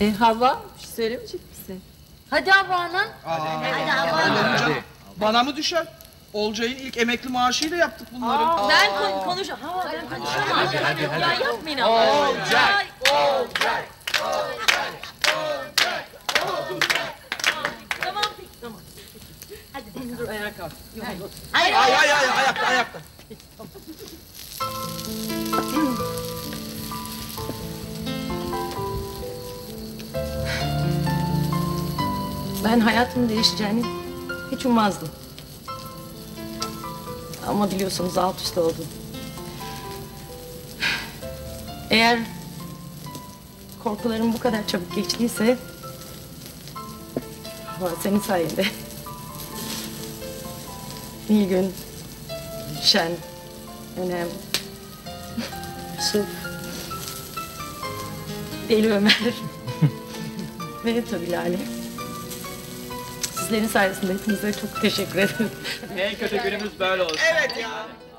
E hava bir şey söylemeyecek misin? Hadi Havva Hanım. Bana mı düşer? Olcay'ın ilk emekli maaşıyla yaptık bunları. Ben kon konuş. Havva ben konuşamam. Ya yapmayın Havva. Olacak. Tamam peki tamam. Hadi dur ayağa kalk. Yok, yok. Hayır. Ay ay ay ayakta ayakta. Ben hayatımın değişeceğini hiç ummazdım. Ama biliyorsunuz alt üst oldum. Eğer korkularım bu kadar çabuk geçtiyse... ...valla senin sayende. Nilgün, Şen, Önem, Yusuf, Deli Ömer ve tabii Lale. Sizlerin sayesinde hepinize çok teşekkür ederim. En kötü günümüz böyle olsun. Evet ya.